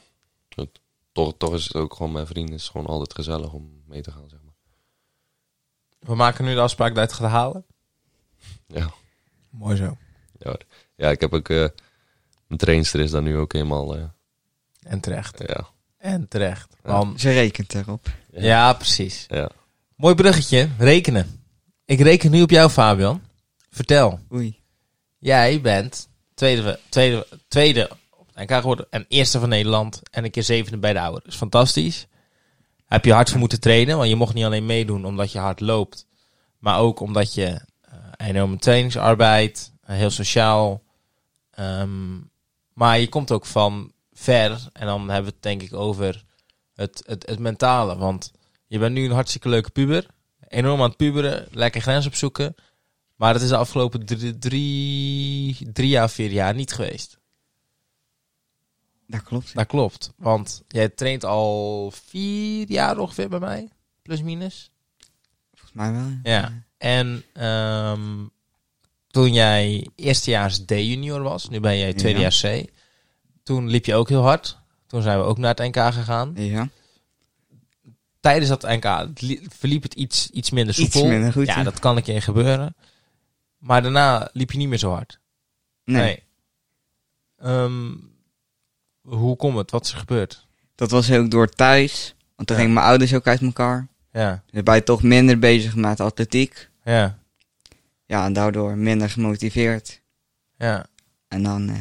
goed, toch, toch is het ook gewoon mijn vrienden. Het is gewoon altijd gezellig om mee te gaan, zeg maar. We maken nu de afspraak dat je het gaat halen. Ja, Mooi zo. ja, hoor. ja ik heb ook... eh, mijn trainster is daar nu ook helemaal... eh, En terecht. ja. En terecht. Ja. Want- Ze rekent erop. Ja, precies. ja. Mooi bruggetje. Rekenen. Ik reken nu op jou, Fabian. Vertel. Oei. Jij bent tweede, tweede, tweede op het NK geworden en eerste van Nederland en een keer zevende bij de ouders. is fantastisch. Heb je hard voor moeten trainen, want je mocht niet alleen meedoen omdat je hard loopt, maar ook omdat je eh, enorme trainingsarbeid, eh, heel sociaal. ehm, maar je komt ook van ver en dan hebben we het denk ik over het, het, het mentale, want je bent nu een hartstikke leuke puber. Enorm aan het puberen, lekker grens opzoeken. Maar dat is de afgelopen drie, drie, drie à vier jaar niet geweest. Dat klopt. Dat klopt. Want jij traint al vier jaar ongeveer bij mij. Plus minus. Volgens mij wel. ja. Ja. En ehm, toen jij eerstejaars D junior was, nu ben jij tweedejaars C. Toen liep je ook heel hard. Toen zijn we ook naar het NK gegaan. Ja. Tijdens dat NK li- verliep het iets, iets minder Iets soepel. minder goed, ja, ja. dat kan een keer gebeuren. Maar daarna liep je niet meer zo hard. Nee. Ehm, hoe komt het? Wat is er gebeurd? Dat was ook door thuis. Want toen Ja. gingen mijn ouders ook uit elkaar. Ja, Dus ben je toch minder bezig met atletiek. ja, Ja, en daardoor minder gemotiveerd. ja, En dan, eh,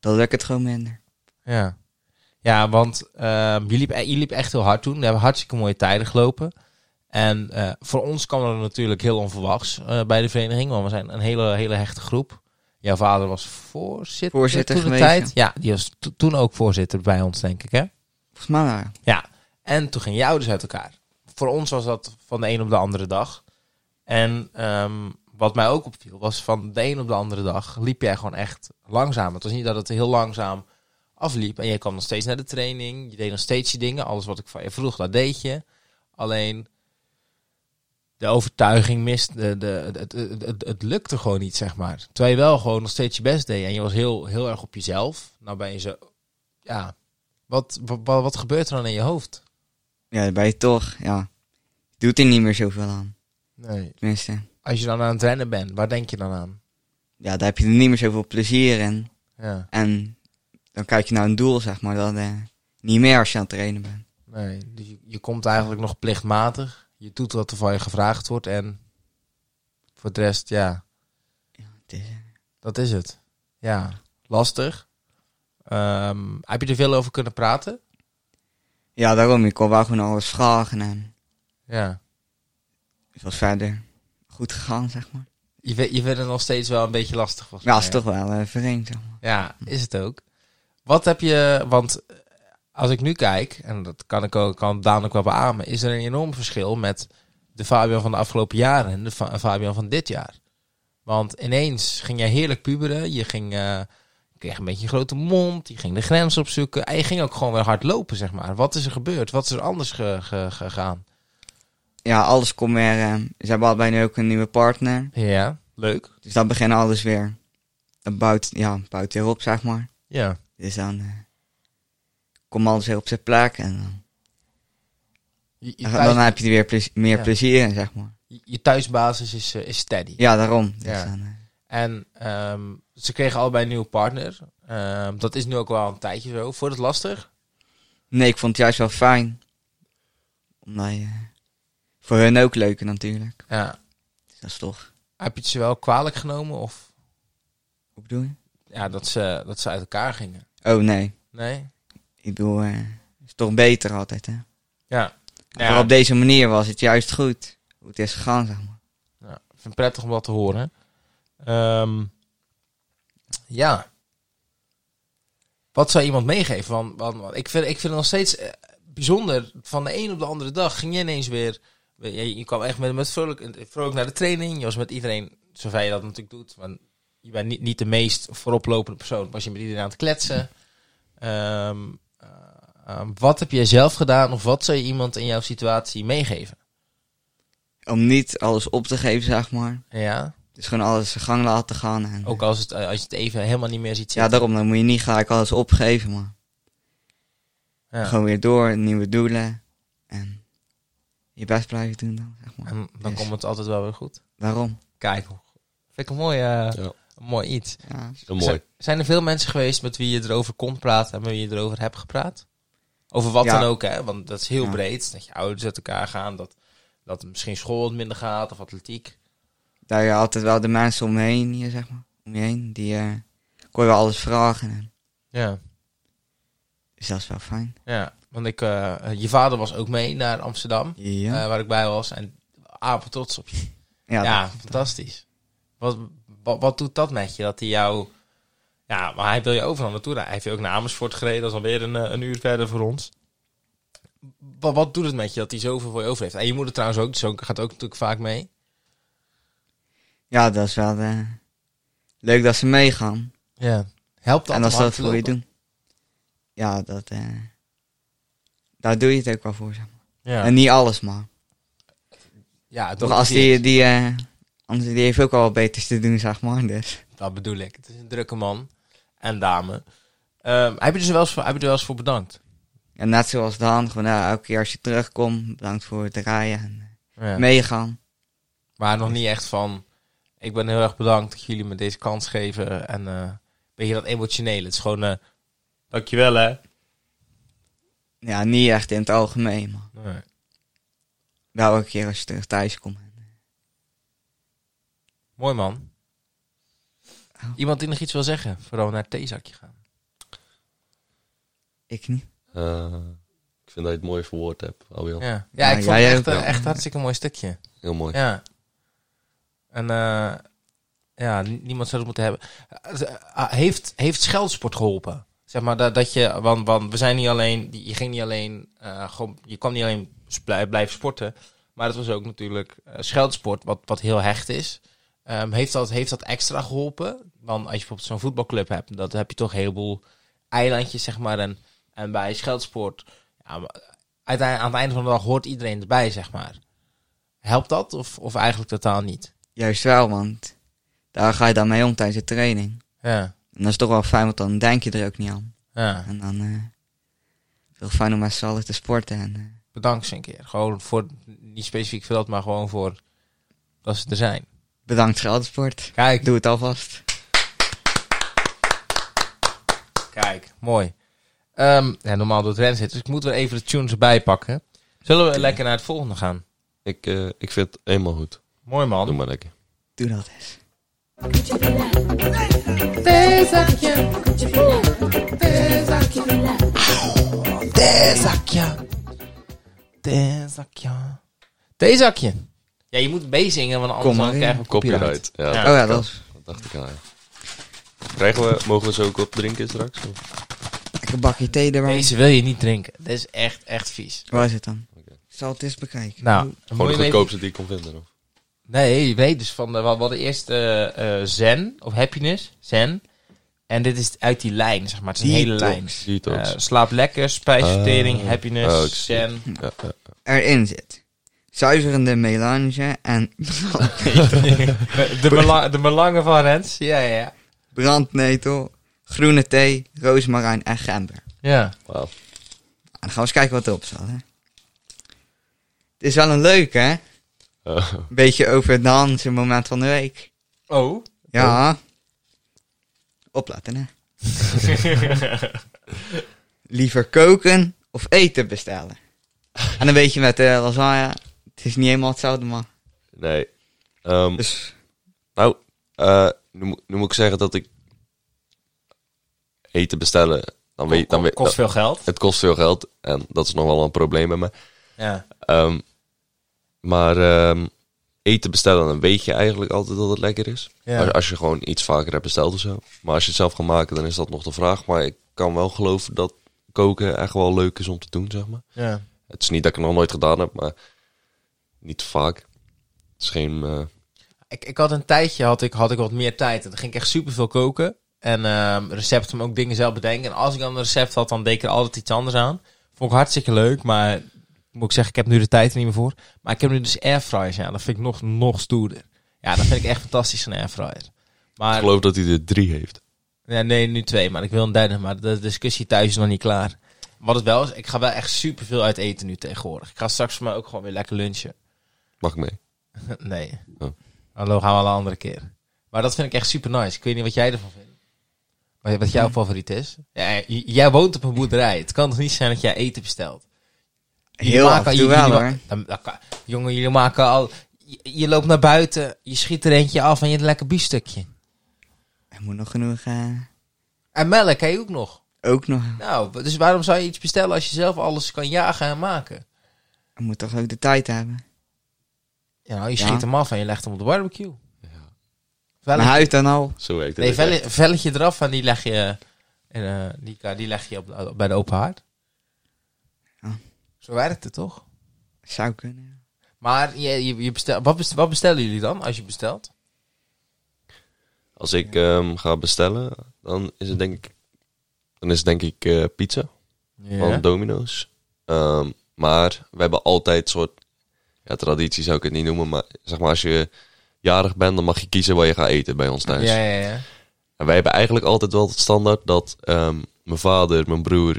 dan lukt het gewoon minder. ja. Ja, want ehm, je, liep, je liep echt heel hard toen. We hebben hartstikke mooie tijden gelopen. En eh, voor ons kwam dat natuurlijk heel onverwachts eh, bij de vereniging. Want we zijn een hele, hele hechte groep. Jouw vader was voorzitter, Voorzitter toen de geweest, tijd. Ja, die was to- toen ook voorzitter bij ons, denk ik, hè? Volgens mij wel. Ja, en toen gingen je ouders uit elkaar. Voor ons was dat van de een op de andere dag. En ehm, wat mij ook opviel, was van de een op de andere dag liep jij gewoon echt langzaam. Het was niet dat het heel langzaam afliep. En jij kwam nog steeds naar de training. Je deed nog steeds je dingen. Alles wat ik van je vroeg, dat deed je. Alleen de overtuiging mist. De, de, het, het, het, het lukte gewoon niet, zeg maar. Terwijl je wel gewoon nog steeds je best deed. En je was heel, heel erg op jezelf. Nou ben je zo... Ja, wat, wat, wat gebeurt er dan in je hoofd? Ja, dan ben je toch, ja. Doet er niet meer zoveel aan. Nee. Tenminste. Als je dan aan het rennen bent, waar denk je dan aan? Ja, daar heb je er niet meer zoveel plezier in. Ja, En dan kijk je naar een doel, zeg maar. Dat eh, niet meer als je aan het trainen bent. nee. Dus je, je komt eigenlijk nog plichtmatig. Je doet wat er van je gevraagd wordt en voor de rest, ja, Het is, eh, dat is het. Ja, lastig. Ehm, heb je er veel over kunnen praten? ja, daarom. Je kon wel gewoon alles vragen. En Ja. het was verder goed gegaan, zeg maar. Je, vi- je vindt het nog steeds wel een beetje lastig volgens Ja, mij. is hè? toch wel eh, vreemd, zeg maar. Ja, is het ook. Wat heb je, want eh, als ik nu kijk, en dat kan ik ook, kan Daan ook wel beamen, is er een enorm verschil met de Fabian van de afgelopen jaren en de Fa- Fabian van dit jaar. Want ineens ging jij heerlijk puberen, je ging, eh, je kreeg een beetje een grote mond, je ging de grens opzoeken en je ging ook gewoon weer hard lopen, zeg maar. Wat is er gebeurd? Wat is er anders ge- ge- gegaan? Ja, alles komt weer... eh, ze hebben allebei nu ook een nieuwe partner. Ja, leuk. Dus dan begint alles weer. Dat bouwt, ja, bouwt weer op, zeg maar. Ja, Dus dan eh, komt alles weer op zijn plek. En dan, je, je, dan, thuis- heb je er weer plez- meer Ja. plezier in, zeg maar. je- je thuisbasis is, eh, is steady. Ja, daarom. Dus Ja. dan, eh, En ehm, ze kregen allebei een nieuwe partner. Ehm, dat is nu ook wel een tijdje zo. Vond je het lastig? nee, ik vond het juist wel fijn. Omdat je... voor hun ook leuker natuurlijk. Ja. Dus dat is toch... Heb je het ze wel kwalijk genomen? Of Hoe bedoel je? ja, dat, ze, dat ze uit elkaar gingen? Oh, nee. Nee? Ik bedoel, eh, het is toch beter altijd, hè? Ja. Ja. Maar op deze manier was het juist goed. Hoe het is gegaan, zeg maar. Ja, ik vind het prettig om dat te horen. Ehm, ja. Wat zou iemand meegeven? Want, want, want ik, vind, ik vind het nog steeds eh, bijzonder. Van de een op de andere dag ging je ineens weer... Je, je kwam echt met, met vrolijk, vrolijk naar de training. Je was met iedereen, zover je dat natuurlijk doet. Want je bent niet, niet de meest vooroplopende persoon. Was je met iedereen aan het kletsen. Ehm, eh, Ehm, wat heb jij zelf gedaan of wat zou je iemand in jouw situatie meegeven? Om niet alles op te geven, zeg maar. Ja, Dus gewoon alles zijn gang laten gaan. En, ook als, het, eh, als je het even helemaal niet meer ziet ja, zitten. daarom dan moet je niet gelijk alles opgeven, maar Ja. gewoon weer door, nieuwe doelen. En je best blijven doen dan, zeg maar. En dan Yes. komt het altijd wel weer goed. Daarom. Kijk, vind ik een mooi, eh, Ja. een mooi iets. Ja. Heel mooi. Zijn, zijn er veel mensen geweest met wie je erover kon praten en met wie je erover hebt gepraat? Over wat Ja. dan ook, hè? Want dat is heel Ja. breed. Dat je ouders uit elkaar gaan, dat, dat misschien school wat minder gaat of atletiek. Daar je altijd wel de mensen omheen hier, zeg maar. Om je heen. Die eh kon je wel alles vragen. En, Ja, dus dat is wel fijn. ja. want ik, eh, je vader was ook mee naar Amsterdam, Ja. eh, waar ik bij was. En apen trots op je. ja, Ja, fantastisch. Wat, wat, wat doet dat met je? Dat hij jou... Ja, maar hij wil je overal naartoe. rijden. Hij heeft je ook naar Amersfoort gereden. Dat is alweer een, eh, een uur verder voor ons. Wat, wat doet het met je dat hij zoveel voor je over heeft? En je moeder trouwens ook. Zo gaat ook natuurlijk vaak mee. ja, dat is wel eh, leuk dat ze meegaan. Ja. Helpt dat en om als ze dat hard te voor je lopen? doen. Ja, dat... eh, daar doe je het ook wel voor, zeg maar. Ja. En niet alles, maar. ja, Toch dat als is- die... die eh, anders, die heeft ook al wat beters te doen, zeg maar. Dus. Dat bedoel ik. Het is een drukke man. En dame. Ehm, heb, je dus wel eens voor, heb je er wel eens voor bedankt? En net zoals Daan, gewoon ja, elke keer als je terugkomt, bedankt voor het rijden en eh, Ja. meegaan. Maar nog niet echt van... Ik ben heel erg bedankt dat jullie me deze kans geven. En eh weet je, dat emotionele. Het is gewoon... eh dankjewel, hè. Ja, niet echt in het algemeen, maar Nee. wel elke keer als je terug thuis komt. Mooi, man. Iemand die nog iets wil zeggen? Vooral naar het theezakje gaan. Ik niet. Eh, ik vind dat je het mooi verwoord hebt, Abiel. Ja, ja, Ja, ik vond jij het echt, ook eh, wel. echt hartstikke mooi stukje. Heel mooi. Ja. En eh, ja, ni- niemand zou het moeten hebben. Eh, eh, Heeft, heeft scheldsport geholpen? Zeg maar dat, dat je, want, want we zijn niet alleen, je ging niet alleen, eh, gewoon, je kwam niet alleen s- blij- blijven sporten, maar het was ook natuurlijk eh, scheldsport, wat, wat heel hecht is. Ehm, heeft, dat, heeft dat extra geholpen? Want als je bijvoorbeeld zo'n voetbalclub hebt, dan heb je toch een heleboel eilandjes, zeg maar. En, en bij scheldsport, ja, maar uiteindelijk, aan het einde van de dag hoort iedereen erbij, zeg maar. Helpt dat of, of eigenlijk totaal niet? Juist wel, want daar ga je dan mee om tijdens de training. Ja, En dat is toch wel fijn, want dan denk je er ook niet aan. ja. En dan eh veel fijn om met z'n allen te sporten. En, eh, bedankt ze een keer. Gewoon voor, niet specifiek voor dat, maar gewoon voor dat ze er zijn. bedankt Scheldsport. Kijk, Doe het alvast. kijk, mooi. Ehm, ja, normaal doet Rens het, dus ik moet weer even de tunes erbij pakken. Zullen we lekker naar het volgende gaan? Ik, eh, ik vind het helemaal goed. Mooi Doe man. maar lekker. Doe dat eens. Theezakje. Theezakje. Theezakje. Ja, je moet meezingen, want anders Kom maar dan in. krijgen we copyright. Copyright. Ja, Ja. oh ja, dat is Dat dacht ik al. ja. Krijgen we, mogen we ze ook opdrinken straks? Of? lekker bakje thee erbij. Deze wil je niet drinken. Dit is echt, echt vies. Waar is het dan? Oké. Ik zal het eens bekijken. Nou, moet Gewoon je hem de even- goedkoopste die ik kon vinden. Of? Nee, nee, dus van de, we hadden eerst eh, eh, Zen, of Happiness, Zen. En dit is uit die lijn, zeg maar. Het is een hele lijn. Detox. Detox. Eh, slaap lekker, spijsvertering, Ah. happiness, Oh, ik zie Zen. Ja, ja. Erin zit zuiverende melange en <laughs> <laughs> de, mela- de belangen van Rens, ja, ja, ja. brandnetel, groene thee, rozemarijn en gember. Ja, Wauw. En Nou, dan gaan we eens kijken wat erop staat. Hè? Het is wel een leuk, hè? Eh, Een beetje over dan zijn moment van de week. oh. Ja. Opletten, hè? Liever koken of eten bestellen. En een beetje met de lasagne. Het is niet helemaal hetzelfde, maar... nee. Ehm, Dus Nou, eh, nu, moet- nu moet ik zeggen dat ik eten bestellen, dan weet, dan weet, kost veel geld. het kost veel geld en dat is nog wel een probleem bij me. Ja. Ehm, maar ehm, eten bestellen, dan weet je eigenlijk altijd dat het lekker is. Ja. Als, als je gewoon iets vaker hebt besteld of zo. Maar als je het zelf gaat maken, dan is dat nog de vraag. Maar ik kan wel geloven dat koken echt wel leuk is om te doen, zeg maar. ja. Het is niet dat ik het nog nooit gedaan heb, maar niet vaak. Het is geen... eh, Ik, ik had een tijdje had ik, had ik wat meer tijd. En dan ging ik echt super veel koken. En ehm, recepten, maar ook dingen zelf bedenken. En als ik dan een recept had, dan deed ik er altijd iets anders aan. Vond ik hartstikke leuk, maar moet ik zeggen, ik heb nu de tijd er niet meer voor. Maar ik heb nu dus airfryers, ja, dat vind ik nog, nog stoerder. Ja, dat vind ik echt fantastisch, een airfryer. Ik Maar, geloof dat hij er drie heeft. ja, nee, nu twee, maar ik wil een derde, maar de discussie thuis is nog niet klaar. Wat het wel is, ik ga wel echt super veel uit eten nu tegenwoordig. Ik ga straks voor mij ook gewoon weer lekker lunchen. Mag ik mee? <laughs> Nee. Oh. Hallo, gaan we wel een andere keer. Maar dat vind ik echt super nice. Ik weet niet wat jij ervan vindt. Wat, wat jouw favoriet is. Ja, j- jij woont op een boerderij. Het kan toch niet zijn dat jij eten bestelt? Jullie Heel af en toe wel jullie ma- hoor. Dan- dan kan- jongen, jullie maken al... Je, je loopt naar buiten, je schiet er eentje af en je hebt een lekker biefstukje. Er moet nog genoeg... eh, En melk, hè, ook nog. ook nog... Nou, dus waarom zou je iets bestellen als je zelf alles kan jagen en maken? Er moet toch ook de tijd hebben. Ja, nou, je Ja. schiet hem af en je legt hem op de barbecue. Ja. Velletje- Mijn huid dan al. Zo werkt het. Nee, ook echt. velle, velletje eraf en die leg je, en, eh, die, ka- die leg je op, eh, bij de open haard. Ja. Zo werkt het toch? Zou kunnen. Maar je, je, je bestel, wat, bestel- wat bestellen jullie dan als je bestelt? Als ik ehm, ga bestellen, dan is het denk ik, dan is het denk ik eh, pizza van Domino's. Ehm, maar we hebben altijd soort, ja, traditie zou ik het niet noemen, maar zeg maar als je jarig bent, dan mag je kiezen waar je gaat eten bij ons ja, thuis. ja, ja. En wij hebben eigenlijk altijd wel het standaard dat ehm, mijn vader, mijn broer,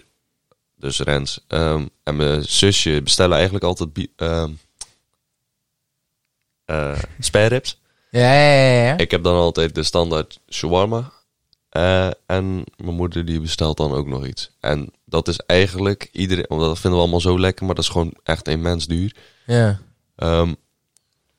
dus Rens, ehm, en mijn zusje bestellen eigenlijk altijd bi- ehm, eh, spare ribs. Ja, ja, ja, ja. Ik heb dan altijd de standaard shawarma. Eh, en mijn moeder die bestelt dan ook nog iets. En dat is eigenlijk iedereen, omdat dat vinden we allemaal zo lekker, maar dat is gewoon echt immens duur. Ja. Ehm,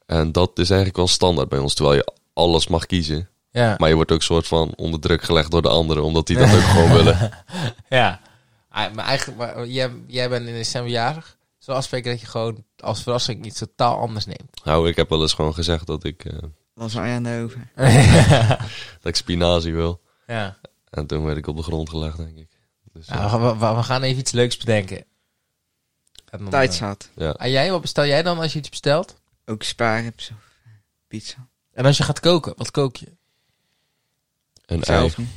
en dat is eigenlijk wel standaard bij ons, terwijl je alles mag kiezen. Ja. Maar je wordt ook soort van onder druk gelegd door de anderen, omdat die dat ook <laughs> gewoon willen. ja. Ah, Maar eigenlijk, maar jij, jij bent in december jarig. Zo afspreken dat je gewoon als verrassing iets totaal anders <laughs> neemt. Nou, ik heb wel eens gewoon gezegd dat ik, eh, Lasagne over. dat ik spinazie wil. ja. En toen werd ik op de grond gelegd, denk ik. Dus, eh, Nou, we, we- we gaan even iets leuks bedenken. En dan, Tijd eh, zat. ja. En jij, wat bestel jij dan als je iets bestelt? Ook spaarrips of eh, pizza. En als je gaat koken, wat kook je? Een ei. Zelf doen.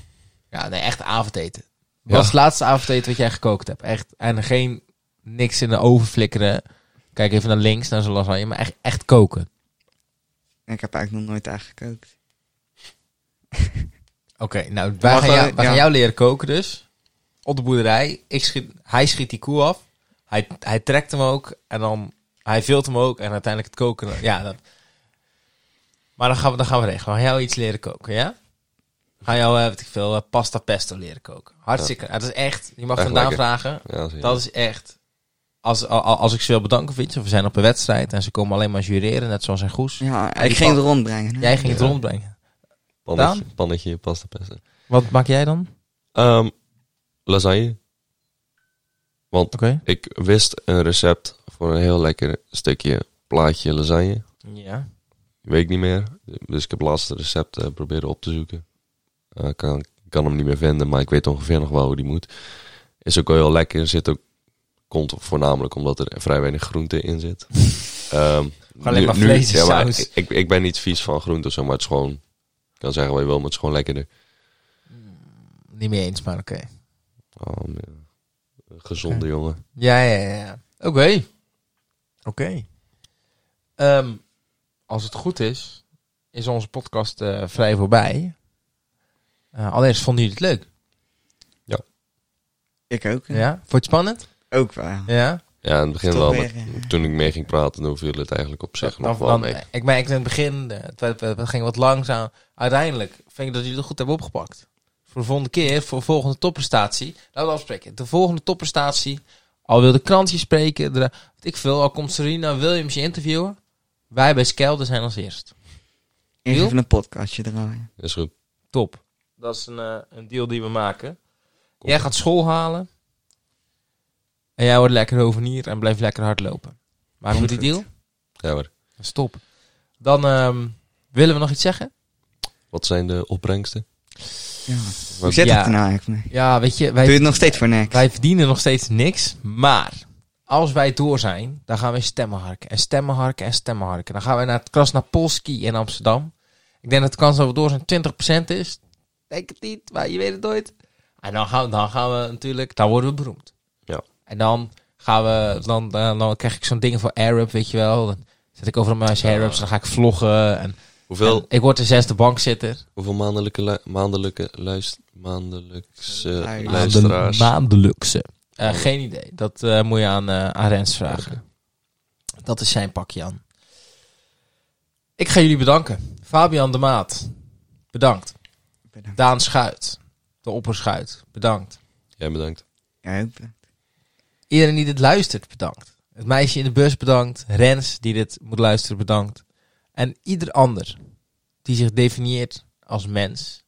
Ja, nee, echt avondeten. Wat Ja. is het laatste avondeten wat jij gekookt hebt? Echt, en geen niks in de oven flikkeren. Kijk even naar links, naar zo'n lasagne, maar echt, echt koken. Ik heb eigenlijk nog nooit eigenlijk gekookt. Oké, nou, wij, Mag gaan wel, jou, wij ja. gaan jou leren koken dus. Op de boerderij. Ik schiet, hij schiet die koe af. Hij, hij trekt hem ook. En dan, hij vilt hem ook. En uiteindelijk het koken. Ja, dat. Maar dan gaan, we, dan gaan we regelen. We gaan jou iets leren koken, ja? We gaan jou, eh, weet ik veel, eh, pasta pesto leren koken. Hartstikke. Dat is echt, je mag Echt vandaan lekker. vragen. Ja, zie je. Dat is echt. Als, al- al- als ik ze wil bedanken, Vince, of we zijn op een wedstrijd en ze komen alleen maar jureren, net zoals een goes. Ja, die ik ging pan- het rondbrengen. hè. Jij ging het Ja. rondbrengen. pannetje, pannetje pasta pesto. Wat maak jij dan? Ehm, lasagne. Want Oké. ik wist een recept voor een heel lekker stukje plaatje lasagne. Ja. Weet ik niet meer. Dus ik heb laatst het recept eh, proberen op te zoeken. Eh, Ik kan, ik kan hem niet meer vinden, maar ik weet ongeveer nog wel hoe die moet. Is ook wel heel lekker. Zit ook, komt voornamelijk omdat er vrij weinig groente in <laughs> zit. Ehm, alleen maar vlees en maar saus. ik- Ik, ik ben niet vies van groente of zo, maar het is gewoon... Ik kan zeggen wat je wil, maar het is gewoon lekkerder. Niet mee eens, maar oké. Oh, ja. Gezonde jongen. Ja, ja, ja, ja. Oké. Oké. Ehm, als het goed is, is onze podcast eh, vrij voorbij. Eh allereerst, vonden jullie het leuk? Ik ook. hè. Ja? Vond je het spannend? Ook wel. Ja? Ja, in het begin Toch wel, weer, maar eh, toen ik mee ging praten, dan viel het eigenlijk op zich nog wel mee. Ik merkte in het begin, eh, het, werd- het ging wat langzaam. Uiteindelijk vind ik dat jullie het goed hebben opgepakt. Voor de volgende keer, voor de volgende topprestatie. Laten we afspreken. De volgende topprestatie. Al wil de krantje spreken. De, weet ik veel, al komt Serena Williams je interviewen. Wij bij Skelde zijn als eerst. Eerst Joep. even een podcastje draaien. Is goed. Top. Dat is een, eh, een deal die we maken. Jij gaat school halen. En jij wordt lekker hovenier en blijft lekker hardlopen. Maar Komt goed, die goed. deal? Ja hoor. Dat is top. Dan ehm, willen we nog iets zeggen? Wat zijn de opbrengsten? Ja. Hoe zit Ja. het er nou eigenlijk mee? Ja, weet je, Doe je wij, het nog steeds voor niks? wij verdienen nog steeds niks. Maar als wij door zijn, dan gaan wij stemmen harken. En stemmen harken en stemmen harken. Dan gaan wij naar het Krasnapolski in Amsterdam. Ik denk dat de kans dat we door zijn 20% is. Denk het niet, maar je weet het nooit. En dan gaan, dan gaan we natuurlijk, dan worden we beroemd. Ja. En dan gaan we, dan, dan, dan krijg ik zo'n ding voor Arab, weet je wel. Dan zet ik overal mijn Arabs, dan ga ik vloggen. En, Hoeveel, en ik word de zesde bankzitter. hoeveel maandelijke, lu- maandelijke luist, maandelijkse Luisteraars. luisteraars? Maandelijkse. Eh, geen idee. Dat eh, moet je aan, eh, aan Rens vragen. Dat is zijn pakje aan. Ik ga jullie bedanken. Fabian de Maat, bedankt. Bedankt. Daan Schuit, de opperschuit, bedankt. Jij bedankt. Ja, ook bedankt. Iedereen die dit luistert, bedankt. Het meisje in de bus, bedankt. Rens, die dit moet luisteren, bedankt. En ieder ander die zich definieert als mens,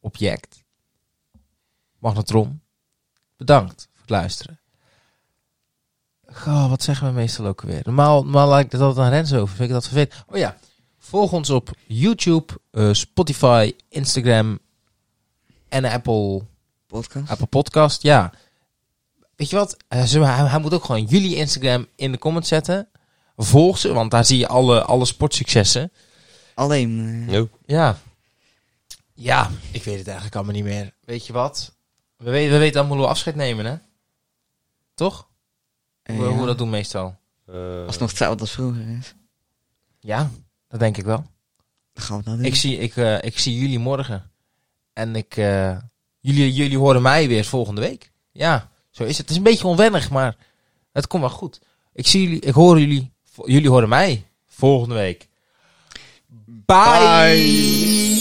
object, magnetron, bedankt voor het luisteren. Goh, wat zeggen we meestal ook weer? Normaal, normaal laat ik dat altijd aan Rens over. Vind ik dat vervelend. Oh ja, volg ons op YouTube, eh, Spotify, Instagram en Apple... Podcast. Apple Podcast, ja. Weet je wat? Eh, zullen we- hij, hij moet ook gewoon jullie Instagram in de comments zetten. Volg ze, want daar zie je alle, alle sportsuccessen. Alleen. eh, Jo. Ja. Ja, ik weet het eigenlijk allemaal niet meer. Weet je wat? We weten, we weten allemaal hoe we afscheid nemen, hè? Toch? eh, Hoe, ja. hoe we dat doen meestal. Eh, Als het nog hetzelfde als vroeger is. Ja, dat denk ik wel. Dan gaan we dat doen. Ik zie, ik, eh, ik zie jullie morgen. En ik, eh, jullie, jullie horen mij weer volgende week. Ja, zo is het. Het is een beetje onwennig, maar het komt wel goed. Ik zie jullie, ik hoor jullie, vo- jullie horen mij volgende week. Bye.